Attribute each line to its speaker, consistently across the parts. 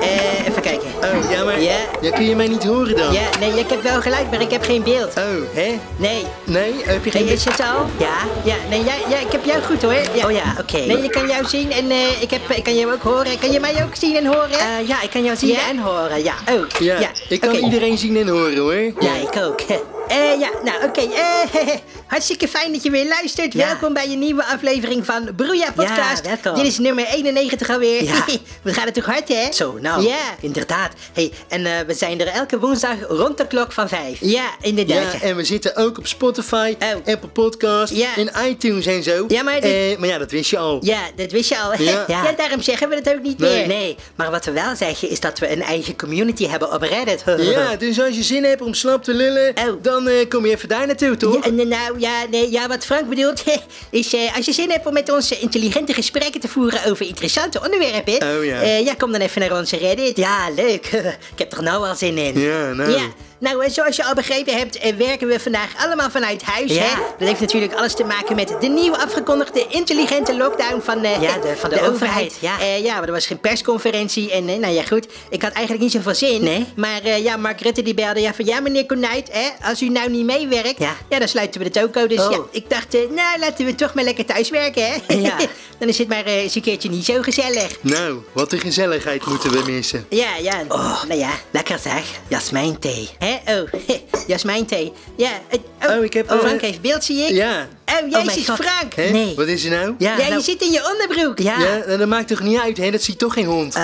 Speaker 1: Eh, even kijken.
Speaker 2: Oh, ja, maar...
Speaker 1: Ja,
Speaker 2: Ja, kun je mij niet horen dan?
Speaker 1: ja, nee, ik heb wel geluid, maar ik heb geen beeld.
Speaker 2: Oh, hè?
Speaker 1: Nee.
Speaker 2: Nee? Heb je geen...
Speaker 1: Nee, is het al? Ja, ja, nee, jij, ja, ik heb jou goed hoor. Ja. Oh ja, oké. Nee, ik kan jou zien en eh, ik, heb, ik kan jou ook horen. Kan je mij ook zien en horen? Eh, ja, ik kan jou zien en horen, ja. Oh,
Speaker 2: Ja, ik kan
Speaker 1: oké.
Speaker 2: iedereen zien en horen hoor.
Speaker 1: Ja, ik ook. Eh, ja, nou oké. Eh, hartstikke fijn dat je weer luistert. Welkom bij een nieuwe aflevering van Broeia Podcast. Dit is nummer 91 alweer. we gaan het toch hard, hè? Zo, nou. Ja. Inderdaad. hey, en eh, we zijn er elke woensdag rond de klok van vijf. Ja, inderdaad.
Speaker 2: Ja, en we zitten ook op Spotify,
Speaker 1: Oh.
Speaker 2: Apple Podcast
Speaker 1: Ja.
Speaker 2: en iTunes en zo.
Speaker 1: Ja, maar dit-
Speaker 2: Eh, maar ja, dat wist je al.
Speaker 1: Ja, dat wist je al.
Speaker 2: Ja.
Speaker 1: Ja. daarom zeggen we het ook niet
Speaker 2: Nee.
Speaker 1: meer. Nee, maar wat we wel zeggen is dat we een eigen community hebben op Reddit.
Speaker 2: Ja, dus als je zin hebt om slap te lullen,
Speaker 1: Oh.
Speaker 2: dan eh, kom je even daar naartoe, toch?
Speaker 1: Ja, en, eh, nou, ja, nee, ja, wat Frank bedoelt is eh, als je zin hebt om met ons eh, intelligente gesprekken te voeren over interessante onderwerpen.
Speaker 2: Oh, ja.
Speaker 1: eh, kom dan even naar onze Reddit. Ja, leuk. Ik heb er nou al zin in.
Speaker 2: Ja, nou.
Speaker 1: Ja. Nou, eh, zoals je al begrepen hebt, eh, werken we vandaag allemaal vanuit huis.
Speaker 3: Ja.
Speaker 1: Hè? Dat heeft natuurlijk alles te maken met de nieuw afgekondigde intelligente lockdown van, eh,
Speaker 3: Ja, de- van de overheid, ja.
Speaker 1: eh, ja, maar er was geen persconferentie en eh, nou ja, goed. Ik had eigenlijk niet zoveel zin.
Speaker 3: Nee?
Speaker 1: Maar eh, ja, Mark Rutte die belde ja van... Ja, meneer Konijt, hè, als u nou niet meewerkt,
Speaker 3: Ja.
Speaker 1: dan sluiten we de toko. Dus
Speaker 3: Oh.
Speaker 1: ja, ik dacht, eh, nou, laten we toch maar lekker thuis werken, hè.
Speaker 3: Ja.
Speaker 1: dan is het maar eh, eens een keertje niet zo gezellig.
Speaker 2: Nou, wat een gezelligheid moeten we missen.
Speaker 1: Ja, ja. nou ja, lekker zeg. Jasmijn thee. Hè? Oh, jasmijn thee. Ja. eh,
Speaker 2: Oh, ik heb, eh,
Speaker 1: Frank heeft beeld, zie ik.
Speaker 2: Ja.
Speaker 1: Oh,
Speaker 3: mijn
Speaker 1: jezus,
Speaker 3: God.
Speaker 1: Frank.
Speaker 2: Hè?
Speaker 3: Nee.
Speaker 2: Wat is er nou?
Speaker 3: Ja,
Speaker 1: Ja,
Speaker 3: nou-
Speaker 1: je zit in je onderbroek.
Speaker 3: Ja.
Speaker 2: Ja, nou, dat maakt toch niet uit, hè? Dat ziet toch geen hond.
Speaker 1: Eh,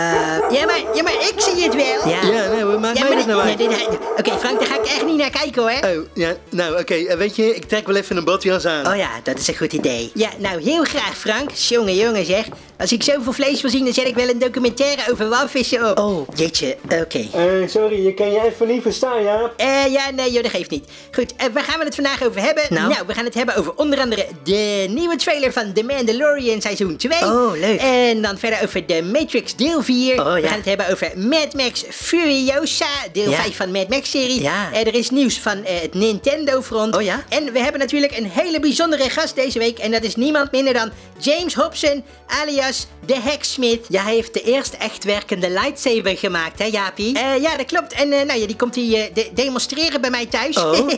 Speaker 1: ja, maar, ja, maar ik zie het wel.
Speaker 3: Ja.
Speaker 2: ja, nou, wat maakt
Speaker 1: Ah. Ja,
Speaker 2: mij
Speaker 1: maar
Speaker 2: dat nou
Speaker 1: nee,
Speaker 2: uit?
Speaker 1: nee, nee, nee. Oké, Frank, daar ga ik echt niet naar kijken hoor.
Speaker 2: Oh, ja, nou, oké, eh, weet je, ik trek wel even een badjas aan.
Speaker 1: Oh ja, dat is een goed idee. Ja, nou heel graag Frank. Jongen, jongen zeg. Als ik zoveel vlees wil zien, dan zet ik wel een documentaire over walvissen op.
Speaker 3: Oh.
Speaker 1: Jeetje, oké.
Speaker 2: Eh, sorry, je kan je even niet verstaan, Jaap.
Speaker 1: Eh, ja, nee, joh, dat geeft niet. Goed, eh, waar gaan we het vandaag over hebben?
Speaker 3: Nou?
Speaker 1: we gaan het hebben over onder andere de nieuwe trailer van The Mandalorian seizoen 2.
Speaker 3: Oh, leuk.
Speaker 1: En dan verder over The Matrix deel 4.
Speaker 3: Oh,
Speaker 1: We
Speaker 3: ja.
Speaker 1: gaan het hebben over Mad Max Furiosa, deel
Speaker 3: Ja.
Speaker 1: 5 van Mad Max-serie.
Speaker 3: Ja.
Speaker 1: Eh, er is nieuws van eh, het Nintendo-front.
Speaker 3: Oh, ja?
Speaker 1: En we hebben natuurlijk een hele bijzondere gast deze week. En dat is niemand minder dan James Hobson, alias de Hacksmith. Ja, hij heeft de eerste echt werkende lightsaber gemaakt, hè Jaapie? ja, dat klopt. En eh, nou ja, die komt hier eh, de- demonstreren bij mij thuis.
Speaker 3: Oh.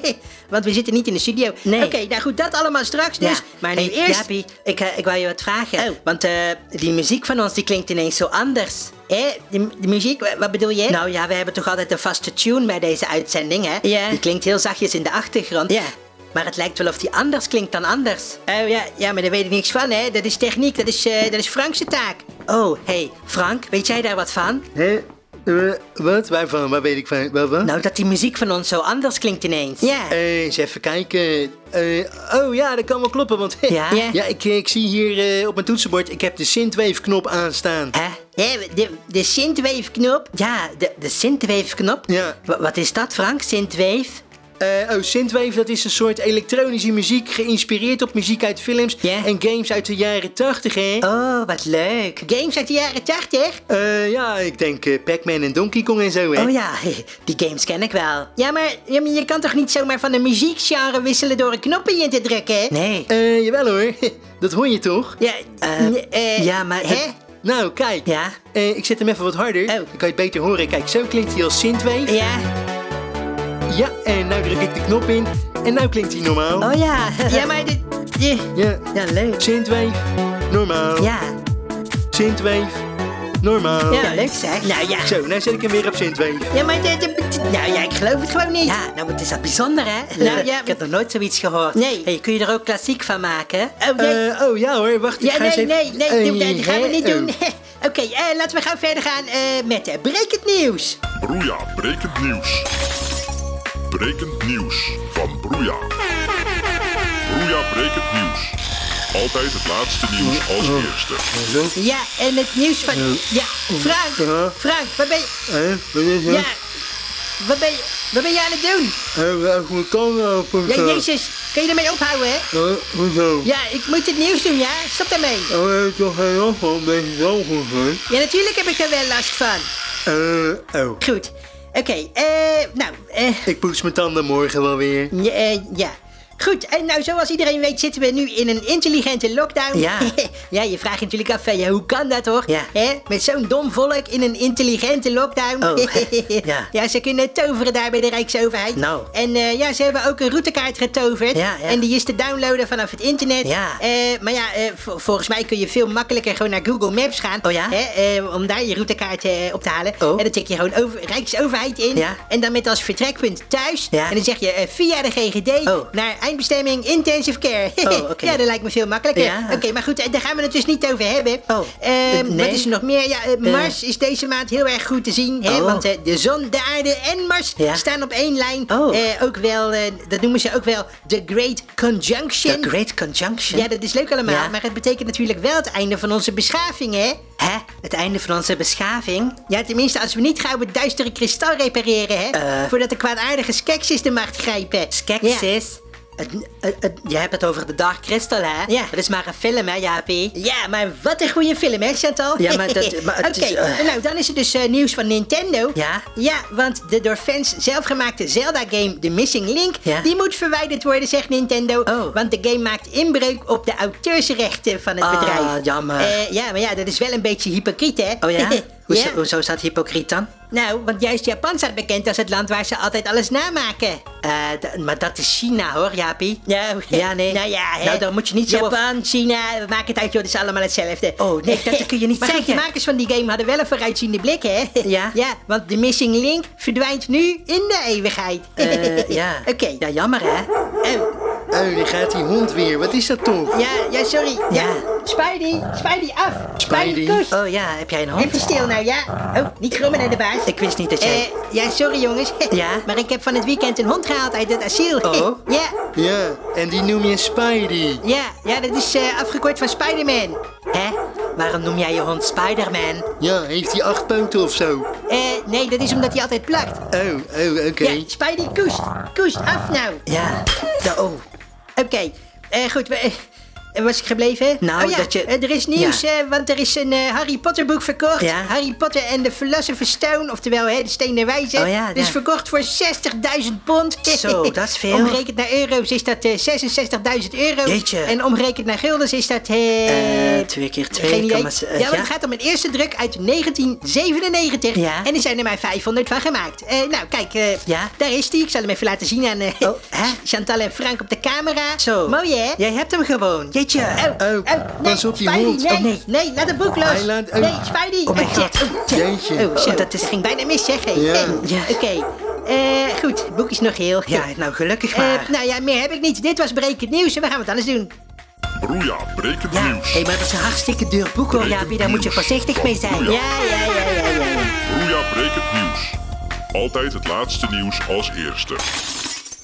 Speaker 1: Want we zitten niet in de studio.
Speaker 3: Nee.
Speaker 1: Oké, nou goed, dat allemaal straks dus.
Speaker 3: Ja,
Speaker 1: Maar nu
Speaker 3: hey,
Speaker 1: eerst...
Speaker 3: Jaapie, ik, eh, ik wou je wat vragen.
Speaker 1: Oh.
Speaker 3: Want eh, die muziek van ons die klinkt ineens zo anders.
Speaker 1: Hè, de, mu- de muziek, wa- wat bedoel je?
Speaker 3: Nou ja, we hebben toch altijd een vaste tune bij deze uitzending, hè?
Speaker 1: Ja.
Speaker 3: Die klinkt heel zachtjes in de achtergrond.
Speaker 1: Ja.
Speaker 3: Maar het lijkt wel of die anders klinkt dan anders.
Speaker 1: Oh ja, ja, maar daar weet ik niks van, hè. Dat is techniek, dat is, eh dat is Frankse taak.
Speaker 3: Oh, hey, Frank, weet jij daar wat van?
Speaker 2: Hé? Eh, wat? Waarvan? Waar weet ik van? Wat? wat?
Speaker 3: Nou, dat die muziek van ons zo anders klinkt ineens.
Speaker 1: Ja.
Speaker 2: Eh, eens even kijken. Eh, oh ja, dat kan wel kloppen, want
Speaker 3: Ja?
Speaker 2: ja. ik, ik zie hier eh, op mijn toetsenbord, ik heb de Synthwave-knop aanstaan.
Speaker 3: Hè?
Speaker 1: Hè, de, de Synthwave-knop.
Speaker 3: Ja, de, de synthwave-knop.
Speaker 2: Ja.
Speaker 3: Wa- wat is dat, Frank? Synthwave?
Speaker 2: Eh, oh, Synthwave, dat is een soort elektronische muziek, geïnspireerd op muziek uit films
Speaker 3: Ja.
Speaker 2: en games uit de jaren 80, hè?
Speaker 3: Oh, wat leuk.
Speaker 1: Games uit de jaren 80.
Speaker 2: Eh, ja, ik denk eh, Pac-Man en Donkey Kong en zo, hè?
Speaker 3: Oh ja, die games ken ik wel.
Speaker 1: Ja maar, ja, maar je kan toch niet zomaar van een muziekgenre wisselen door een knop in je te drukken? hè?
Speaker 3: Nee.
Speaker 2: Eh, jawel hoor, dat hoor je toch?
Speaker 1: Ja,
Speaker 3: Eh,
Speaker 1: eh,
Speaker 3: ja, maar-
Speaker 1: Hè?
Speaker 2: Nou, kijk.
Speaker 3: Ja?
Speaker 2: Eh, ik zet hem even wat harder. Dan kan je het beter horen. Kijk, zo klinkt hij als Synthwave.
Speaker 1: Oh. Ja,
Speaker 2: Ja, en nu druk ik de knop in. En nu klinkt hij normaal.
Speaker 3: Oh ja.
Speaker 1: ja, maar dit... dit-
Speaker 2: Ja,
Speaker 3: Ja, leuk.
Speaker 2: Synthwave, normaal.
Speaker 3: Ja.
Speaker 2: Synthwave, normaal.
Speaker 1: Ja.
Speaker 3: leuk zeg.
Speaker 1: Nou ja,
Speaker 2: Zo, nou zet ik hem weer op Synthwave.
Speaker 1: ja maar... dit- dit- nou ja, ik geloof het gewoon niet.
Speaker 3: Ja, nou, wat is dat bijzonder, hè? Eh,
Speaker 1: Nou, ja,
Speaker 3: ik heb nog nooit zoiets gehoord.
Speaker 1: Nee.
Speaker 3: Hey, kun je er ook klassiek van maken?
Speaker 1: Oh, nee.
Speaker 2: Eh, oh ja hoor, wacht, ik
Speaker 1: ja,
Speaker 2: ga
Speaker 1: nee,
Speaker 2: eens
Speaker 1: nee,
Speaker 2: even...
Speaker 1: nee,
Speaker 2: Eh,
Speaker 1: dat- dat gaan we
Speaker 2: hè?
Speaker 1: niet doen.
Speaker 2: Oh.
Speaker 1: Oké, eh, laten we gaan verder gaan eh, met eh, Breek het Nieuws.
Speaker 4: Broeia brekend nieuws. Brekend nieuws van Broeia. Broeia brekend nieuws. Altijd het laatste nieuws als eerste.
Speaker 1: Ja, en het nieuws van... Ja,
Speaker 2: Ja.
Speaker 1: Frank, Frank, waar ben je...
Speaker 2: Eh, wat is dat?
Speaker 1: Ja, wat ben je, wat ben je aan het doen?
Speaker 2: Eh, we hebben een camera op of
Speaker 1: Ja,
Speaker 2: zo.
Speaker 1: jezus, kun je ermee ophouden, hè?
Speaker 2: Eh, hoezo?
Speaker 1: Ja, ik moet het nieuws doen, ja? Stop daarmee.
Speaker 2: Oh, we hebben toch geen last van, ben je zo goed, hè?
Speaker 1: Ja, natuurlijk heb ik er wel last van.
Speaker 2: Eh, oh.
Speaker 1: Goed. Oké, eh, nou, eh,
Speaker 2: Ik poets mijn tanden morgen wel weer.
Speaker 1: ja, eh, ja.
Speaker 3: Goed, en nou zoals iedereen weet zitten we nu in een intelligente lockdown.
Speaker 1: Ja.
Speaker 3: ja, je vraagt natuurlijk af, eh, ja, hoe kan dat hoor?
Speaker 1: Ja.
Speaker 3: Hè? Met zo'n dom volk in een intelligente lockdown.
Speaker 1: Oh, ja.
Speaker 3: ja, ze kunnen toveren daar bij de Rijksoverheid.
Speaker 1: Nou.
Speaker 3: En eh, ja, ze hebben ook een routekaart getoverd.
Speaker 1: Ja, ja.
Speaker 3: En die is te downloaden vanaf het internet.
Speaker 1: Ja.
Speaker 3: Eh, maar ja, eh, vo- volgens mij kun je veel makkelijker gewoon naar Google Maps gaan.
Speaker 1: Oh ja?
Speaker 3: Hè, eh, om daar je routekaart eh, op te halen.
Speaker 1: Oh.
Speaker 3: En dan tik je gewoon over, Rijksoverheid in.
Speaker 1: Ja.
Speaker 3: En dan met als vertrekpunt thuis.
Speaker 1: Ja.
Speaker 3: En dan zeg je eh, via de GGD
Speaker 1: Oh.
Speaker 3: naar eindbestemming intensive care.
Speaker 1: Oh, oké.
Speaker 3: Ja, dat lijkt me veel makkelijker.
Speaker 1: Ja.
Speaker 3: Oké, maar goed, eh, daar gaan we het dus niet over hebben.
Speaker 1: Oh,
Speaker 3: Ehm,
Speaker 1: eh, nee.
Speaker 3: Wat is er nog meer? Ja, eh,
Speaker 1: Eh.
Speaker 3: Mars is deze maand heel erg goed te zien. Hè,
Speaker 1: Oh.
Speaker 3: Want eh, de zon, de aarde en Mars
Speaker 1: Ja.
Speaker 3: staan op één lijn.
Speaker 1: Oh.
Speaker 3: Eh, ook wel, eh, dat noemen ze ook wel de Great Conjunction.
Speaker 1: The Great Conjunction.
Speaker 3: ja, dat is leuk allemaal,
Speaker 1: Ja.
Speaker 3: maar het betekent natuurlijk wel het einde van onze beschaving, hè?
Speaker 1: Hè? Het einde van onze beschaving?
Speaker 3: Ja, tenminste, als we niet gauw het duistere kristal repareren, hè?
Speaker 1: Eh.
Speaker 3: Voordat de kwaadaardige Skeksis de macht grijpen. Ja.
Speaker 1: Skeksis? Het, het, het- je hebt het over de Dark Crystal, hè?
Speaker 3: Ja.
Speaker 1: Dat is maar een film, hè, Jaapie?
Speaker 3: Ja, maar wat een goede film, hè, Chantal?
Speaker 1: Ja, maar dat- maar het
Speaker 3: Oké,
Speaker 1: is, eh.
Speaker 3: nou, dan is er dus eh, nieuws van Nintendo.
Speaker 1: Ja?
Speaker 3: Ja, want de door fans zelfgemaakte Zelda-game The Missing Link...
Speaker 1: Ja.
Speaker 3: die moet verwijderd worden, zegt Nintendo.
Speaker 1: Oh.
Speaker 3: Want de game maakt inbreuk op de auteursrechten van het
Speaker 1: Ah,
Speaker 3: bedrijf.
Speaker 1: jammer.
Speaker 3: Eh, ja, maar ja, dat is wel een beetje hypocriet, hè?
Speaker 1: Oh ja? Hoezo,
Speaker 3: ja.
Speaker 1: hoezo staat hypocriet dan?
Speaker 3: Nou, want juist Japan staat bekend als het land waar ze altijd alles namaken.
Speaker 1: Eh, d- maar dat is China, hoor, Jaapie.
Speaker 3: Nou,
Speaker 1: Ja, nee.
Speaker 3: Nou ja, hè.
Speaker 1: Nou, dan moet je niet zo over-
Speaker 3: Japan, China, we maken het uit, joh, het is allemaal hetzelfde.
Speaker 1: Oh, nee, dat kun je niet
Speaker 3: maar goed,
Speaker 1: zeggen.
Speaker 3: de makers van die game hadden wel een vooruitziende blik, hè?
Speaker 1: Ja.
Speaker 3: Ja, want de Missing Link verdwijnt nu in de eeuwigheid.
Speaker 1: Eh, ja.
Speaker 3: Oké.
Speaker 1: Ja, jammer, hè?
Speaker 3: Oh,
Speaker 2: Oh, daar gaat die hond weer. Wat is dat toch?
Speaker 3: ja, ja, sorry. Ja.
Speaker 1: Ja.
Speaker 3: Spidey, Spidey af. Spidey,
Speaker 2: Spidey.
Speaker 3: koes.
Speaker 1: Oh ja, heb jij een hond?
Speaker 3: Even stil nou, ja? Oh, niet grommen naar de baas.
Speaker 1: Ik wist niet dat jij...
Speaker 3: Eh, ja, sorry jongens.
Speaker 1: Ja?
Speaker 3: Maar ik heb van het weekend een hond gehaald uit het asiel.
Speaker 1: Oh.
Speaker 3: Ja,
Speaker 2: Ja, en die noem je Spidey.
Speaker 3: ja, ja, dat is eh, afgekort van Spider-Man.
Speaker 1: Hè? Waarom noem jij je hond Spider-Man?
Speaker 2: Ja, heeft hij acht poten of zo?
Speaker 3: Eh, nee, dat is omdat hij altijd plakt.
Speaker 2: Oh, oh, oké.
Speaker 3: Ja, Spidey, koest. Koest, af nou.
Speaker 1: Ja. Da- oh.
Speaker 3: Oké, eh, goed. we- eh, was ik gebleven?
Speaker 1: Nou,
Speaker 3: oh, ja.
Speaker 1: dat je-
Speaker 3: eh, er is nieuws,
Speaker 1: Ja.
Speaker 3: eh, want er is een eh, Harry Potter boek verkocht.
Speaker 1: Ja.
Speaker 3: Harry Potter en de Philosopher's Stone, oftewel hè, de Steen der Wijze.
Speaker 1: Oh ja,
Speaker 3: Dus
Speaker 1: ja.
Speaker 3: verkocht voor 60.000 pond.
Speaker 1: Zo, dat is veel.
Speaker 3: Omgerekend naar euro's is dat eh, 66.000 euro.
Speaker 1: Jeetje.
Speaker 3: En omgerekend naar guldens is dat... eh,
Speaker 1: Eh, twee keer twee,
Speaker 3: Geen idee.
Speaker 1: komma ze- eh,
Speaker 3: ja, want
Speaker 1: ja.
Speaker 3: het gaat om een eerste druk uit 1997.
Speaker 1: Ja.
Speaker 3: En er zijn er maar 500 van gemaakt. Eh, nou, kijk, eh,
Speaker 1: Ja.
Speaker 3: daar is die. Ik zal hem even laten zien aan eh,
Speaker 1: Oh, hè?
Speaker 3: Chantal en Frank op de camera.
Speaker 1: Zo.
Speaker 3: Mooi, hè?
Speaker 1: Jij hebt hem gewoon. Jeetje.
Speaker 2: Oh, pas op die
Speaker 3: Spidey,
Speaker 2: hond.
Speaker 3: Nee,
Speaker 2: Oh,
Speaker 3: nee,
Speaker 2: nee.
Speaker 3: laat het boek los.
Speaker 2: Hij laat- oh.
Speaker 3: Nee, Spidey.
Speaker 1: Oh, mijn
Speaker 3: Eh,
Speaker 1: God.
Speaker 3: oh, tja.
Speaker 2: Jeetje.
Speaker 3: Oh, zo,
Speaker 1: Oh,
Speaker 3: dat
Speaker 1: dat
Speaker 3: is...
Speaker 1: is-
Speaker 3: ging bijna mis, zeg. hè?
Speaker 2: Ja.
Speaker 3: Eh,
Speaker 1: Ja.
Speaker 3: Oké. Eh, goed, het boek is nog heel.
Speaker 1: Ja, nou gelukkig
Speaker 3: Eh,
Speaker 1: maar.
Speaker 3: nou ja, meer heb ik niet. Dit was Brekend Nieuws en we gaan wat anders doen.
Speaker 4: Broeia, brekend
Speaker 1: ja,
Speaker 4: nieuws.
Speaker 1: hey, maar dat is een hartstikke duur boek hoor, Jaapie. Daar moet je voorzichtig mee zijn.
Speaker 4: Ja.
Speaker 3: Ja, ja, ja, ja, ja. ja.
Speaker 4: Broeia, brekend nieuws. Altijd het laatste nieuws als eerste.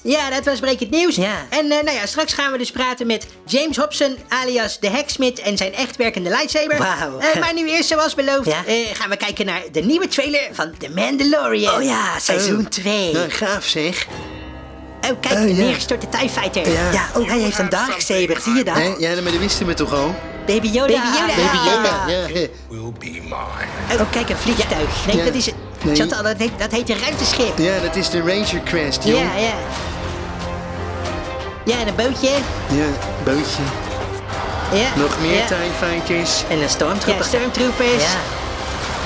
Speaker 3: Ja, dat was Breek het Nieuws.
Speaker 1: Ja.
Speaker 3: En eh, nou ja, straks gaan we dus praten met James Hobson, alias de Heksmit en zijn echt werkende lightsaber.
Speaker 1: Wauw.
Speaker 3: Eh, maar nu eerst, zoals beloofd,
Speaker 1: Ja.
Speaker 3: eh, gaan we kijken naar de nieuwe trailer van The Mandalorian.
Speaker 1: Oh ja, seizoen
Speaker 2: Oh.
Speaker 1: 2.
Speaker 2: Ja, gaaf zeg.
Speaker 3: Oh, kijk,
Speaker 2: Oh, ja.
Speaker 3: de neergestorte TIE Fighter.
Speaker 2: Ja.
Speaker 1: Ja, oh, hij heeft een darksaber. Zie je dat?
Speaker 2: Hè? Ja, maar dat wisten we toch al?
Speaker 1: Baby Yoda.
Speaker 3: Baby Yoda.
Speaker 2: Baby Yoda,
Speaker 3: Ah.
Speaker 2: ja. hè.
Speaker 3: Oh, oh, kijk, een vliegtuig. Nee,
Speaker 2: Ja.
Speaker 3: dat is... het.
Speaker 2: Nee.
Speaker 3: Chantal, dat heet, dat heet een ruimteschip.
Speaker 2: Ja, dat is de Ranger Crest, joh.
Speaker 3: Ja, ja. Ja, en een bootje.
Speaker 2: Ja, bootje.
Speaker 3: Ja.
Speaker 2: Nog meer
Speaker 3: ja.
Speaker 2: TIE Fighters.
Speaker 1: En een
Speaker 3: Ja,
Speaker 1: stormtrooper.
Speaker 3: stormtroopers.
Speaker 1: Ja.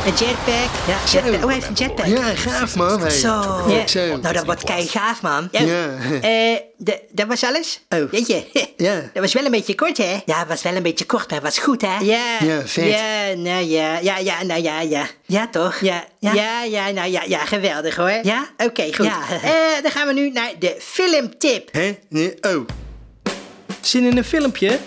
Speaker 3: Een jetpack.
Speaker 1: Ja, jetpack. Oh, hij heeft een jetpack.
Speaker 2: Ja, gaaf man. Hey.
Speaker 1: Zo.
Speaker 2: Ja, Zo.
Speaker 1: Nou, dat wordt kei gaaf, man.
Speaker 3: Oh,
Speaker 2: Ja.
Speaker 3: eh, d- dat was alles?
Speaker 2: Oh.
Speaker 3: Weet je?
Speaker 2: Ja.
Speaker 3: Dat was wel een beetje kort, hè?
Speaker 1: Ja, het was wel een beetje kort, maar het was goed, hè?
Speaker 3: Ja.
Speaker 2: Ja, vet.
Speaker 3: Ja, nou ja. Ja, ja, nou ja, ja.
Speaker 1: Ja, toch?
Speaker 3: Ja, ja,
Speaker 1: Ja.
Speaker 3: ja, nou ja, ja, geweldig hoor.
Speaker 1: Ja?
Speaker 3: Oké, goed.
Speaker 1: Ja.
Speaker 3: Eh, dan gaan we nu naar de filmtip.
Speaker 2: Hè? Nee, oh.
Speaker 5: Zin in een filmpje?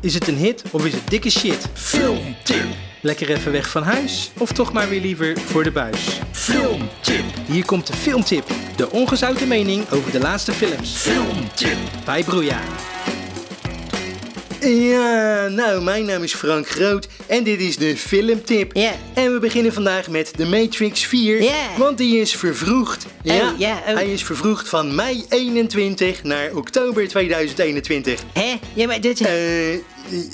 Speaker 5: Is het een hit of is het dikke shit? Filmtip! Lekker even weg van huis of toch maar weer liever voor de buis?
Speaker 4: Filmtip,
Speaker 5: Hier komt de filmtip. De ongezouten mening over de laatste films.
Speaker 4: filmtip,
Speaker 5: Bij Broeja.
Speaker 2: Ja, nou, mijn naam is Frank Groot en dit is de filmtip.
Speaker 3: Ja.
Speaker 2: En we beginnen vandaag met The Matrix 4,
Speaker 3: Ja.
Speaker 2: want die is vervroegd. ja,
Speaker 3: ja, oh.
Speaker 2: hij is vervroegd van mei 21 naar oktober 2021.
Speaker 3: Hè? Ja, maar dit...
Speaker 2: Eh,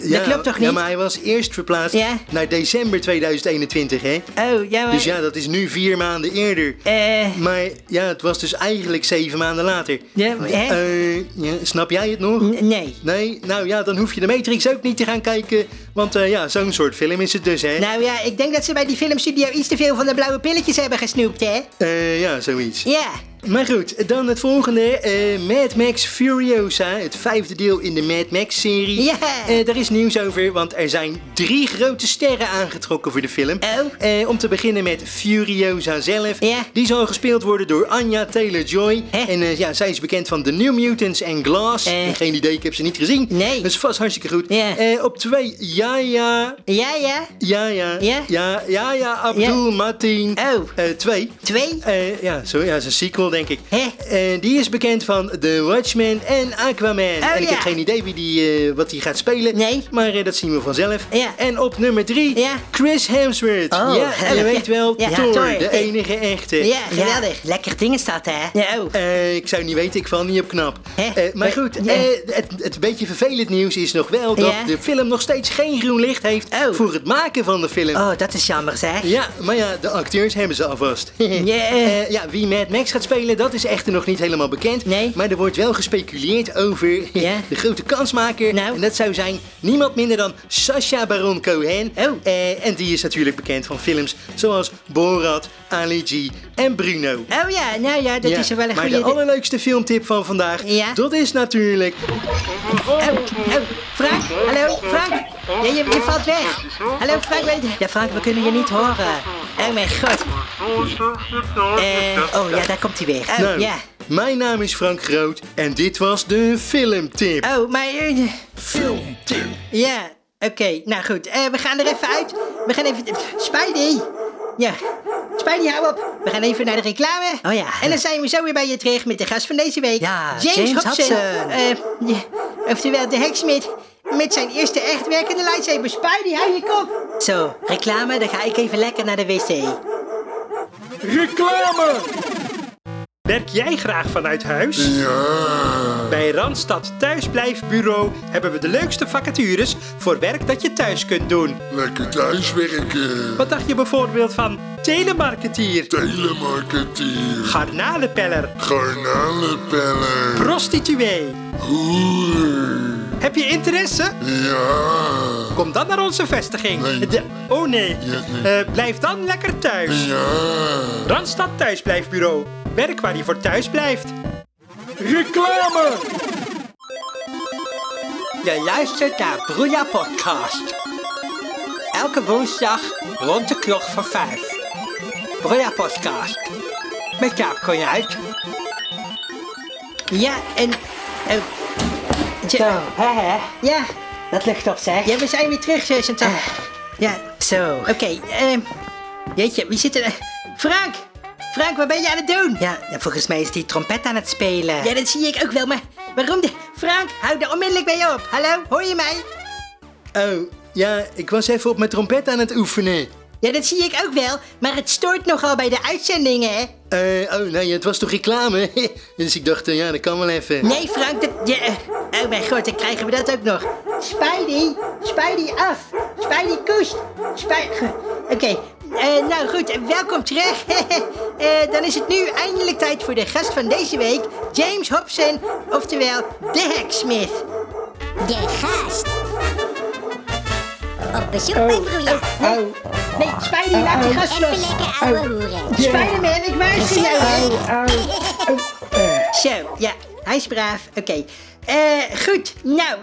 Speaker 2: Ja,
Speaker 3: klopt toch niet?
Speaker 2: Ja, maar hij was eerst verplaatst
Speaker 3: Ja.
Speaker 2: naar december 2021, hè?
Speaker 1: Eh.
Speaker 3: Oh, ja, maar...
Speaker 2: Dus ja, dat is nu vier maanden eerder.
Speaker 3: Eh.
Speaker 2: Maar ja, het was dus eigenlijk zeven maanden later.
Speaker 3: Ja, hè?
Speaker 2: Eh, ja, snap jij het nog?
Speaker 3: N- nee.
Speaker 2: Nee? Nou ja, dan hoef je de Matrix ook niet te gaan kijken. Want eh, ja, zo'n soort film is het dus, hè?
Speaker 3: Nou ja, ik denk dat ze bij die filmstudio iets te veel van de blauwe pilletjes hebben gesnoept, hè?
Speaker 2: Eh, ja, zoiets.
Speaker 3: Ja.
Speaker 2: Maar goed, dan het volgende. eh, Mad Max Furiosa, het vijfde deel in de Mad Max-serie.
Speaker 3: Ja.
Speaker 2: Eh, daar is nieuws over, want er zijn drie grote sterren aangetrokken voor de film.
Speaker 3: Oh.
Speaker 2: Eh, om te beginnen met Furiosa zelf.
Speaker 3: Ja.
Speaker 2: Die zal gespeeld worden door Anya Taylor-Joy.
Speaker 3: Hè?
Speaker 2: En eh, ja, zij is bekend van The New Mutants en Glass.
Speaker 3: Eh.
Speaker 2: En Geen idee, ik heb ze niet gezien.
Speaker 3: Nee.
Speaker 2: Dat is vast hartstikke goed.
Speaker 3: Ja.
Speaker 2: Eh, op twee, Yaya...
Speaker 3: Ja, ja.
Speaker 2: Yaya...
Speaker 3: Ja?
Speaker 2: Ja, Yaya Abdul Mateen.
Speaker 3: Oh.
Speaker 2: Eh, twee.
Speaker 3: Twee.
Speaker 2: Eh, ja, zo, ja, is een sequel, denk ik.
Speaker 3: Hè?
Speaker 2: Eh, die is bekend van The Watchmen en Aquaman. en ik
Speaker 3: Oh, ja.
Speaker 2: heb geen idee wie die, eh, wat die gaat spelen.
Speaker 3: Nee.
Speaker 2: Maar eh, dat zien we vanzelf.
Speaker 3: Ja.
Speaker 2: En op nummer drie,
Speaker 3: Ja.
Speaker 2: Chris Hemsworth.
Speaker 3: Oh.
Speaker 2: Ja, je
Speaker 3: Ja.
Speaker 2: weet wel,
Speaker 3: Ja,
Speaker 2: Thor,
Speaker 3: Thor.
Speaker 2: de
Speaker 3: Eh.
Speaker 2: enige echte.
Speaker 3: Ja, geweldig.
Speaker 1: Lekker ding is dat, hè?
Speaker 3: Ja, oh.
Speaker 2: Eh, ik zou niet weten, ik val niet op knap.
Speaker 3: Hè?
Speaker 2: Eh, maar
Speaker 3: Eh,
Speaker 2: goed,
Speaker 3: ja.
Speaker 2: eh, het, het beetje vervelend nieuws is nog wel dat
Speaker 3: Ja.
Speaker 2: de film nog steeds geen groen licht heeft
Speaker 3: Oh.
Speaker 2: voor het maken van de film.
Speaker 1: Oh, dat is jammer, zeg.
Speaker 2: Ja, maar ja, de acteurs hebben ze alvast. Eh, ja, wie Mad Max gaat spelen, dat is echter nog niet helemaal bekend.
Speaker 3: Nee.
Speaker 2: Maar er wordt wel gespeculeerd over
Speaker 3: Ja.
Speaker 2: de grote kansmaker.
Speaker 3: Nou.
Speaker 2: En dat zou zijn niemand minder dan Sacha Baron Cohen.
Speaker 3: Oh.
Speaker 2: Eh, en die is natuurlijk bekend van films zoals Borat, Ali G en Bruno.
Speaker 3: Oh ja, nou ja, dat
Speaker 2: Ja,
Speaker 3: is wel een
Speaker 2: maar
Speaker 3: goede...
Speaker 2: de allerleukste filmtip van vandaag,
Speaker 3: Ja.
Speaker 2: dat is natuurlijk...
Speaker 3: Oh, oh, Frank, hallo, Frank. Ja, je, je valt weg. Hallo, Frank, weet
Speaker 1: Ja, Frank, we kunnen je niet horen.
Speaker 3: Oh mijn god.
Speaker 1: Eh, oh, ja, daar komt hij weer.
Speaker 3: Oh,
Speaker 2: Nou,
Speaker 3: ja.
Speaker 2: Mijn naam is Frank Groot en dit was de filmtip.
Speaker 3: Oh, maar... eh, Ja, oké. Nou goed, Eh, we gaan er even uit. We gaan even... Spidey! Ja, Spidey, hou op. We gaan even naar de reclame.
Speaker 1: Oh ja.
Speaker 3: En dan zijn we zo weer bij je terug met de gast van deze week.
Speaker 1: Ja, James Hobson.
Speaker 3: Eh, ja, oftewel de heksmid. Met zijn eerste echt werkende lightsaber. Spidey, hou je kop.
Speaker 1: Zo, reclame, dan ga ik even lekker naar de wc.
Speaker 5: Werk jij graag vanuit huis? Bij Randstad Thuisblijfbureau hebben we de leukste vacatures voor werk dat je thuis kunt doen.
Speaker 4: Lekker thuiswerken.
Speaker 5: Wat dacht je bijvoorbeeld van telemarketeer,
Speaker 4: Telemarketeer.
Speaker 5: garnalenpeller,
Speaker 4: Garnalenpeller.
Speaker 5: prostituee?
Speaker 4: Hoer.
Speaker 5: Heb je interesse?
Speaker 4: Ja.
Speaker 5: Kom dan naar onze vestiging.
Speaker 4: Nee.
Speaker 5: De- oh nee,
Speaker 4: Ja, nee.
Speaker 5: Eh, blijf dan lekker thuis.
Speaker 4: Ja.
Speaker 5: Randstad Thuisblijfbureau. Werk waar je voor thuis blijft. Reclame!
Speaker 1: Je luistert naar Broeja Podcast. Elke woensdag rond de klok van vijf. Broeja Podcast. Met Jaap Konjuit.
Speaker 3: Ja, en... eh, ja,
Speaker 1: hè?
Speaker 3: ja.
Speaker 1: Dat lucht op, zeg. Eh.
Speaker 3: ja, we zijn weer terug, zus en zo. Ja,
Speaker 1: Zo.
Speaker 3: oké. ehm, jeetje, wie zit er... eh, Frank! Frank, wat ben je aan het doen?
Speaker 1: Ja, ja, volgens mij is die trompet aan het spelen.
Speaker 3: Ja, dat zie ik ook wel, maar waarom de... Frank, hou daar onmiddellijk mee op. Hallo, hoor je mij?
Speaker 2: Oh, ja, ik was even op mijn trompet aan het oefenen.
Speaker 3: Ja, dat zie ik ook wel, maar het stoort nogal bij de uitzendingen, hè?
Speaker 2: Eh, oh nee, het was toch reclame? dus ik dacht, eh, ja, dat kan wel even.
Speaker 3: Nee, Frank, dat... Ja, eh, oh mijn god, dan krijgen we dat ook nog. Spidey, Spidey af. Spidey koest. Spidey... Oké, eh, nou goed, eh, welkom terug. Eh, dan is het nu eindelijk tijd voor de gast van deze week, James Hobson, oftewel de Hacksmith.
Speaker 6: De gast. Op bezoek bij Broeja.
Speaker 3: Nee, Spidey, laat die gast
Speaker 6: Even
Speaker 3: los.
Speaker 6: lekker ouwe hoeren.
Speaker 3: Spider-Man, ik waarschuw jou. hè. Zo, ja, hij is braaf. Oké. Eh, goed, nou.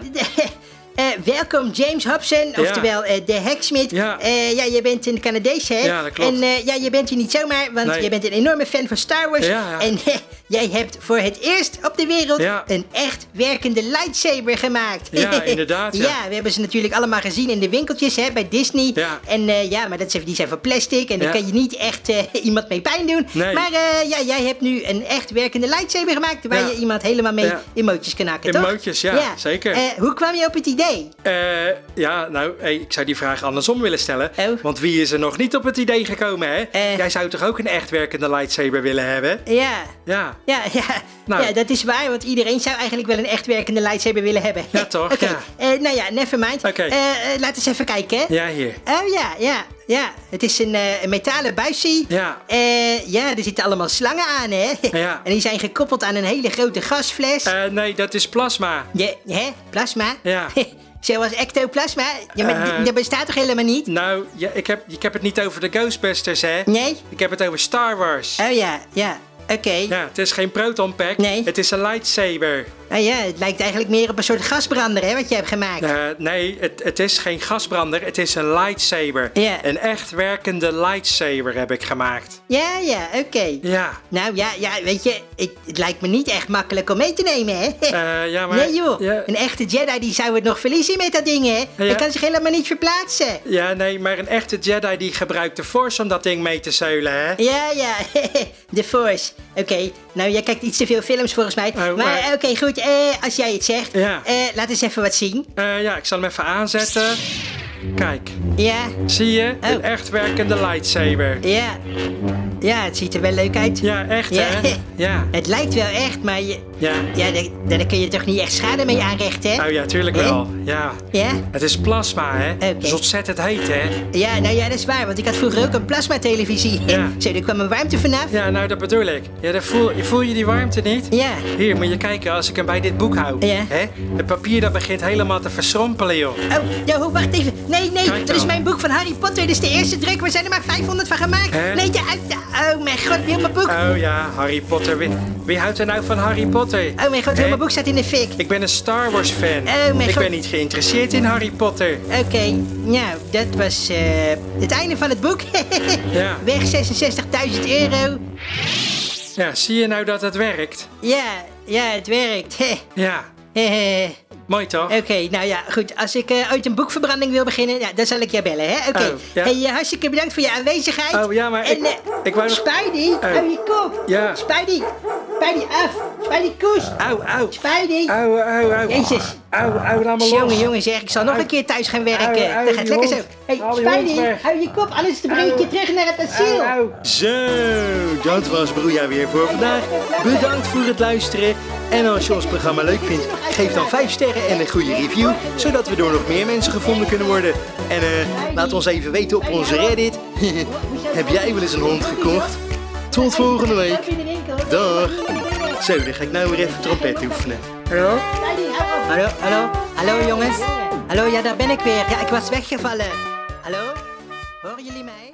Speaker 3: eh, welkom James Hobson, oftewel eh, de Hacksmith.
Speaker 5: Ja.
Speaker 3: Eh, ja, jij bent een Canadees, hè?
Speaker 5: Ja, dat klopt.
Speaker 3: En eh, ja, je bent hier niet zomaar, want
Speaker 5: Nee.
Speaker 3: je bent een enorme fan van Star Wars.
Speaker 5: Ja, ja.
Speaker 3: En eh, jij hebt voor het eerst op de wereld
Speaker 5: Ja.
Speaker 3: een echt werkende lightsaber gemaakt.
Speaker 5: Ja, inderdaad, ja.
Speaker 3: we hebben ze natuurlijk allemaal gezien in de winkeltjes hè, bij Disney.
Speaker 5: Ja.
Speaker 3: En eh, ja, maar dat zijn, die zijn van plastic en daar
Speaker 5: Ja.
Speaker 3: kan je niet echt eh, iemand mee pijn doen.
Speaker 5: Nee.
Speaker 3: Maar eh, ja, jij hebt nu een echt werkende lightsaber gemaakt waar
Speaker 5: Ja.
Speaker 3: je iemand helemaal mee
Speaker 5: Ja.
Speaker 3: emoties kan hakken, toch?
Speaker 5: Emoties, ja, zeker.
Speaker 3: Eh, hoe kwam je op het idee idee?
Speaker 2: Eh, ja, nou, hey, ik zou die vraag andersom willen stellen.
Speaker 3: Oh.
Speaker 2: Want wie is er nog niet op het idee gekomen, hè?
Speaker 3: Eh.
Speaker 2: Jij zou toch ook een echt werkende lightsaber willen hebben?
Speaker 3: Ja.
Speaker 2: Ja.
Speaker 3: Ja, ja.
Speaker 2: Nou.
Speaker 3: ja, dat is waar, want iedereen zou eigenlijk wel een echt werkende lightsaber willen hebben.
Speaker 2: Ja, toch?
Speaker 3: Oké,
Speaker 2: Ja.
Speaker 3: eh, nou ja, never mind.
Speaker 2: Oké.
Speaker 3: Eh, eh, laat eens even kijken, hè?
Speaker 2: Ja, hier.
Speaker 3: Oh ja, ja, ja. Het is een, eh, een metalen buisje.
Speaker 2: Ja.
Speaker 3: Eh, ja, er zitten allemaal slangen aan, hè?
Speaker 2: Ja.
Speaker 3: En die zijn gekoppeld aan een hele grote gasfles.
Speaker 2: Eh, nee, dat is plasma.
Speaker 3: Je, hè? Plasma?
Speaker 2: Ja.
Speaker 3: Zoals ectoplasma? Ja, maar die-
Speaker 2: Eh.
Speaker 3: dat bestaat toch helemaal niet?
Speaker 2: Nou, ja, ik, heb, ik heb het niet over de Ghostbusters, hè?
Speaker 3: Nee?
Speaker 2: Ik heb het over Star Wars.
Speaker 3: Oh ja, ja. Oké.
Speaker 2: Ja, het is geen proton pack.
Speaker 3: Nee.
Speaker 2: Het is een lightsaber.
Speaker 3: Oh ja, het lijkt eigenlijk meer op een soort gasbrander, hè, wat je hebt gemaakt.
Speaker 2: Eh, nee, het, het is geen gasbrander, het is een lightsaber.
Speaker 3: Ja.
Speaker 2: Een echt werkende lightsaber heb ik gemaakt.
Speaker 3: Ja, ja, oké.
Speaker 2: Ja.
Speaker 3: Nou ja, ja, weet je, ik, het lijkt me niet echt makkelijk om mee te nemen, hè?
Speaker 2: Eh, ja, maar-
Speaker 3: Nee, joh.
Speaker 2: Ja.
Speaker 3: Een echte Jedi die zou het nog verliezen met dat ding, hè?
Speaker 2: Ja.
Speaker 3: Hij kan zich helemaal niet verplaatsen.
Speaker 2: Ja, nee, maar een echte Jedi die gebruikt de Force om dat ding mee te zeulen, hè?
Speaker 3: Ja, ja, de Force. Oké, nou, jij kijkt iets te veel films volgens mij. maar
Speaker 2: Oh, maar-
Speaker 3: oké, goed, eh, als jij het zegt,
Speaker 2: Ja.
Speaker 3: eh, laat eens even wat zien.
Speaker 2: Eh, ja, ik zal hem even aanzetten. Kijk,
Speaker 3: Ja,
Speaker 2: zie je? Een
Speaker 3: Oh.
Speaker 2: echt werkende lightsaber.
Speaker 3: ja. Ja, het ziet er wel leuk uit.
Speaker 2: Ja, echt, hè? Ja.
Speaker 3: Het lijkt wel echt, maar je,
Speaker 2: Ja.
Speaker 3: ja daar, daar kun je toch niet echt schade mee aanrichten, hè?
Speaker 2: Nou ja, tuurlijk wel. Ja.
Speaker 3: Ja?
Speaker 2: Het is plasma, hè?
Speaker 3: Oké.
Speaker 2: Het is ontzettend heet, hè?
Speaker 3: Ja, nou ja, dat is waar, want ik had vroeger ook een plasmatelevisie.
Speaker 2: Ja.
Speaker 3: Zo, er kwam een warmte vanaf.
Speaker 2: Ja, nou, dat bedoel ik. Ja, dan voel, voel je die warmte niet?
Speaker 3: Ja.
Speaker 2: Hier, moet je kijken als ik hem bij dit boek hou.
Speaker 3: Ja.
Speaker 2: Hè? Het papier dat begint helemaal te verschrompelen, joh.
Speaker 3: Oh, ja, ho, wacht even. Nee, nee,
Speaker 2: Kijk
Speaker 3: dat is
Speaker 2: dan.
Speaker 3: mijn boek van Harry Potter. Dit is de eerste druk. We zijn er maar 500 van gemaakt.
Speaker 2: Hè?
Speaker 3: Nee, ja, uit. Oh, mijn god, heel mijn boek.
Speaker 2: Oh ja, Harry Potter. Wie, wie houdt er nou van Harry Potter?
Speaker 3: Oh, mijn god, heel
Speaker 2: Hè?
Speaker 3: mijn boek staat in de fik.
Speaker 2: Ik ben een Star Wars fan.
Speaker 3: mijn
Speaker 2: ik
Speaker 3: god.
Speaker 2: ben niet geïnteresseerd in Harry Potter.
Speaker 3: Oké, nou, dat was eh, het einde van het boek.
Speaker 2: Ja.
Speaker 3: Weg 66.000 euro.
Speaker 2: Ja, zie je nou dat het werkt?
Speaker 3: Ja, ja, het werkt.
Speaker 2: Ja,
Speaker 3: Eh,
Speaker 2: mooi toch?
Speaker 3: Oké, nou ja, goed. Als ik eh, ooit een boekverbranding wil beginnen, ja, dan zal ik je bellen, hè? Oké.
Speaker 2: Oh, ja.
Speaker 3: hey, eh, hartstikke bedankt voor je aanwezigheid.
Speaker 2: Oh, ja, maar ik-
Speaker 3: en, eh,
Speaker 2: ik wou nog- Oh.
Speaker 3: Spidey, hou je kop.
Speaker 2: Ja.
Speaker 3: Spidey, Spidey af. Spidey, koes.
Speaker 2: Au, au.
Speaker 3: Spidey.
Speaker 2: Au, au, au.
Speaker 3: Jezus.
Speaker 2: Au, au, laat me los.
Speaker 3: Jongen, jongen, zeg, ik zal nog
Speaker 2: Au.
Speaker 3: een keer thuis gaan
Speaker 2: Au,
Speaker 3: werken.
Speaker 2: au,
Speaker 3: dat gaat
Speaker 2: die
Speaker 3: lekker zo.
Speaker 2: hond.
Speaker 3: hey,
Speaker 2: Haal die hond
Speaker 3: Spidey,
Speaker 2: weg.
Speaker 3: hou je kop, anders breng ik je
Speaker 2: Au.
Speaker 3: terug naar het asiel.
Speaker 2: Au, au.
Speaker 7: Zo, dat was Broeja weer voor vandaag. Bedankt voor het luisteren. En als je ons programma leuk vindt, geef dan 5 sterren en een goede review, zodat we door nog meer mensen gevonden kunnen worden. En eh, laat ons even weten op onze Reddit. Heb jij wel eens een hond gekocht? Tot volgende week. Dag. Zo, dan ga ik nou weer even trompet oefenen.
Speaker 3: Hallo? Hallo, hallo, hallo jongens. Hallo, ja, daar ben ik weer. Ja, ik was weggevallen. Hallo? Horen jullie mij?